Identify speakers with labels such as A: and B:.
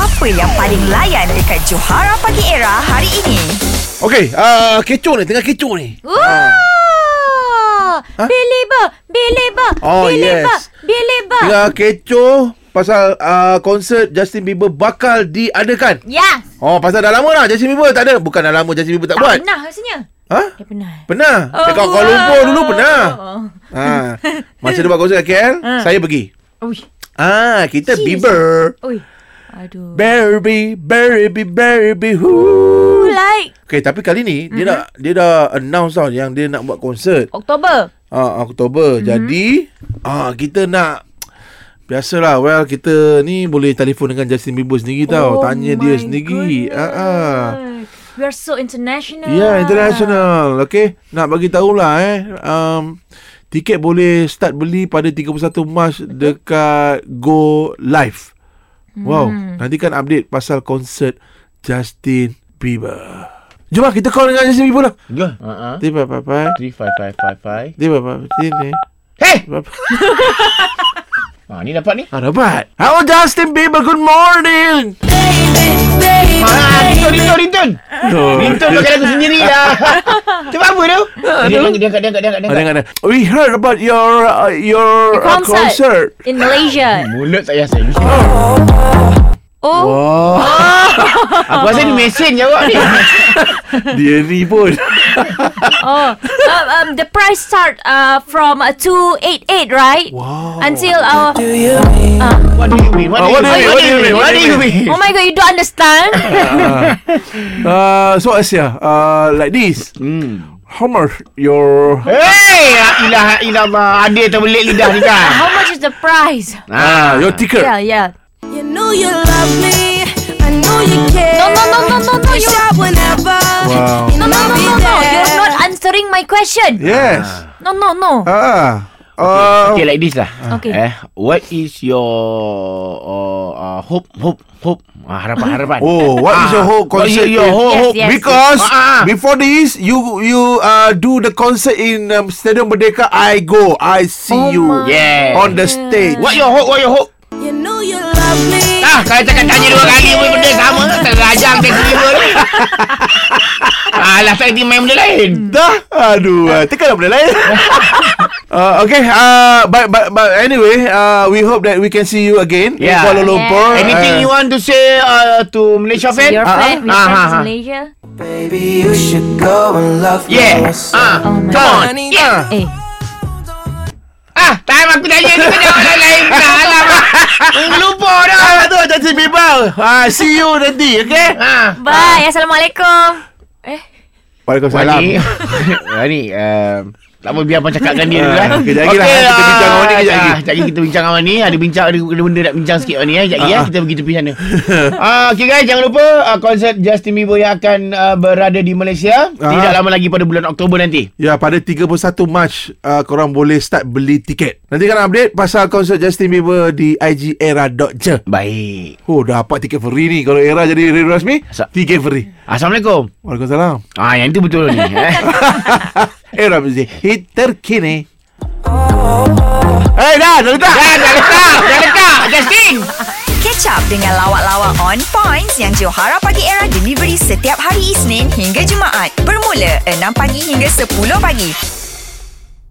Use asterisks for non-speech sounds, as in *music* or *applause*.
A: Apa yang paling layan dekat Johara Pagi Era hari ini?
B: Okey, uh, kecoh ni, tengah kecoh ni.
C: Wah!
B: Hah?
C: Beleba, beleba,
B: Ah. Oh,
C: beleba,
B: yes.
C: beleba.
B: Tengah kecoh pasal uh, konsert Justin Bieber bakal diadakan.
C: Yes.
B: Oh, pasal dah lama lah Justin Bieber tak ada. Bukan dah lama Justin Bieber tak,
C: Tak
B: buat.
C: pernah rasanya.
B: Ha?
C: Dia pernah.
B: Pernah. Oh, Dekat Kuala Lumpur dulu
C: *laughs*
B: pernah.
C: Oh.
B: Ha. Masa dia buat konsert kat KL, saya pergi.
C: Ui.
B: Ah, kita
C: Ha. Jeez.
B: Bieber.
C: Ui. Aduh.
B: Barbie, Barbie, Barbie, who?
C: Like
B: Okay, tapi kali ni
C: Mm-hmm.
B: dia dah dia dah announce tau yang dia nak buat konsert.
C: Oktober.
B: Ah,
C: Mhm.
B: Oktober. Mm-hmm. Jadi, ah kita nak biasalah well kita ni boleh telefon dengan Justin Bieber sendiri tau. Tanya dia
C: Oh my
B: sendiri.
C: goodness.
B: Ah ah.
C: We are so
B: Ya,
C: international.
B: yeah, international. Okey, nak bagi tahulah eh. Um tiket boleh start beli pada 31 Mac dekat Go Live. Wow,
C: Hmm.
B: nantikan update pasal konsert Justin Bieber. Jomlah kita call dengan Justin Bieber lah.
D: Go. Uh-uh.
B: Tiba papa.
D: Three five five five five.
B: Tiba papa. Sini.
D: Hey!
B: Papa.
D: Ha, ni dapat ni.
B: Ah, dapat. Hello Justin Bieber, good morning.
D: Ha,
C: Ah,
D: Rinton, Rinton, Rinton.
B: Oh,
D: Rinton pakai lagu sendiri
C: *laughs*
D: lah. Cuba apa tu?
C: Ah,
D: Dia angkat, dia angkat, dia angkat, dia angkat, dia angkat.
B: dengar, dengar. We heard about your uh, your
C: Your
B: uh,
C: concert.
B: concert.
C: In Malaysia.
D: Mulut saya saya lupa.
C: Ah, Oh.
B: *laughs* Wah,
D: Aku
C: ah.
D: rasa ni mesin jawab ni.
B: dia ni pun.
C: Oh, um, um, the price start uh, from uh, 288, right?
B: Wow.
C: Until uh,
D: *laughs* What do you mean?
B: Ah,
D: What do you mean? What do you mean? What do you mean?
C: oh my god, you don't understand?
B: *coughs* Uh, so Asia, uh, like this.
D: Hmm.
B: How much your
D: Hey, ya la ilaha illallah. Ada terbelit lidah ni
C: *laughs*
D: kan.
C: How much is the price?
B: ah your ticket?
C: Yeah, yeah.
E: You know you love me. I know you care.
C: No, no, no, no, no, no.
E: Reach
C: You,
E: out whenever.
B: Wow.
E: You
C: no,
E: know
C: no, no,
E: I'll be
C: no, no.
E: there.
C: You're not answering my question.
B: Yes.
C: No, no, no.
B: Ah. Uh,
D: Okay, like this lah.
C: Okay.
D: Eh, what is your uh, uh, hope, hope, hope? Ah, harapan, harapan.
B: Oh, what
D: Ah.
B: is your whole
D: What is
B: concert?
D: your whole
C: Yes,
D: hope?
C: yes.
B: Because
D: Ah, ah.
B: before this, you you uh, do the concert in um, Stadium Merdeka. I go, I see
C: Oh
B: you
C: my
D: Yeah.
B: on the stage.
D: What your hope? What your hope?
E: You know you love me.
D: Ah, kalau cakap tanya dua kali pun benda sama Terajang dia sendiri ni Alah, saya pergi main benda lain
B: Dah Aduh uh, Tekan apa
D: *laughs*
B: lain uh, Okay uh, but, but, but anyway uh, We hope that we can see you again
D: Yeah.
B: In Kuala Lumpur
C: Yeah.
D: Anything you want to say uh, to Malaysia fan?
C: Your
D: Ah,
C: friend, your
D: ah,
C: friend
D: ah,
C: is
D: ah.
C: Malaysia.
D: Yeah. Ah,
C: Oh my
D: come on.
C: god.
D: Yeah.
C: Eh,
D: Ah, time aku tanya ni kena orang lain dah. Alamak. Lupa dah.
B: Ah, tu Justin Bieber uh, See you nanti Okay
D: Ah.
C: bye. Assalamualaikum. Eh,
B: Waalaikumsalam
D: *laughs* Wani Wani um, Tak apa biar abang cakapkan dia dulu
B: Ah,
D: kan
B: kejap lagi lah. Kita bincang dengan Wani kejap lagi.
D: ah, Kejap lagi kita bincang dengan Wani Ada bincang ada, ada benda nak bincang sikit Wani eh. Kejap lagi
B: Ah,
D: ya
B: ah.
D: Kita pergi tepi
B: *laughs*
D: sana Ah, Okay guys jangan lupa ah, Konsert Justin Bieber yang akan ah, Berada di Malaysia
B: Ah.
D: Tidak lama lagi pada bulan Oktober nanti
B: Ya pada 31 Mac uh, Korang boleh start beli tiket Nanti kan update Pasal konsert Justin Bieber Di igera.je
D: Baik
B: Oh dapat tiket free ni Kalau era jadi radio rasmi
D: Sa-
B: Tiket free
D: Assalamualaikum
B: Waalaikumsalam *laughs*
D: Ah, yang itu betul ni eh. *laughs*
B: Era muzik Hit terkini Eh dah dah letak
D: Dah dah letak Dah letak Justin
A: Catch up dengan lawak-lawak on points yang Johara Pagi Era delivery setiap hari Isnin hingga Jumaat bermula 6 pagi hingga 10 pagi.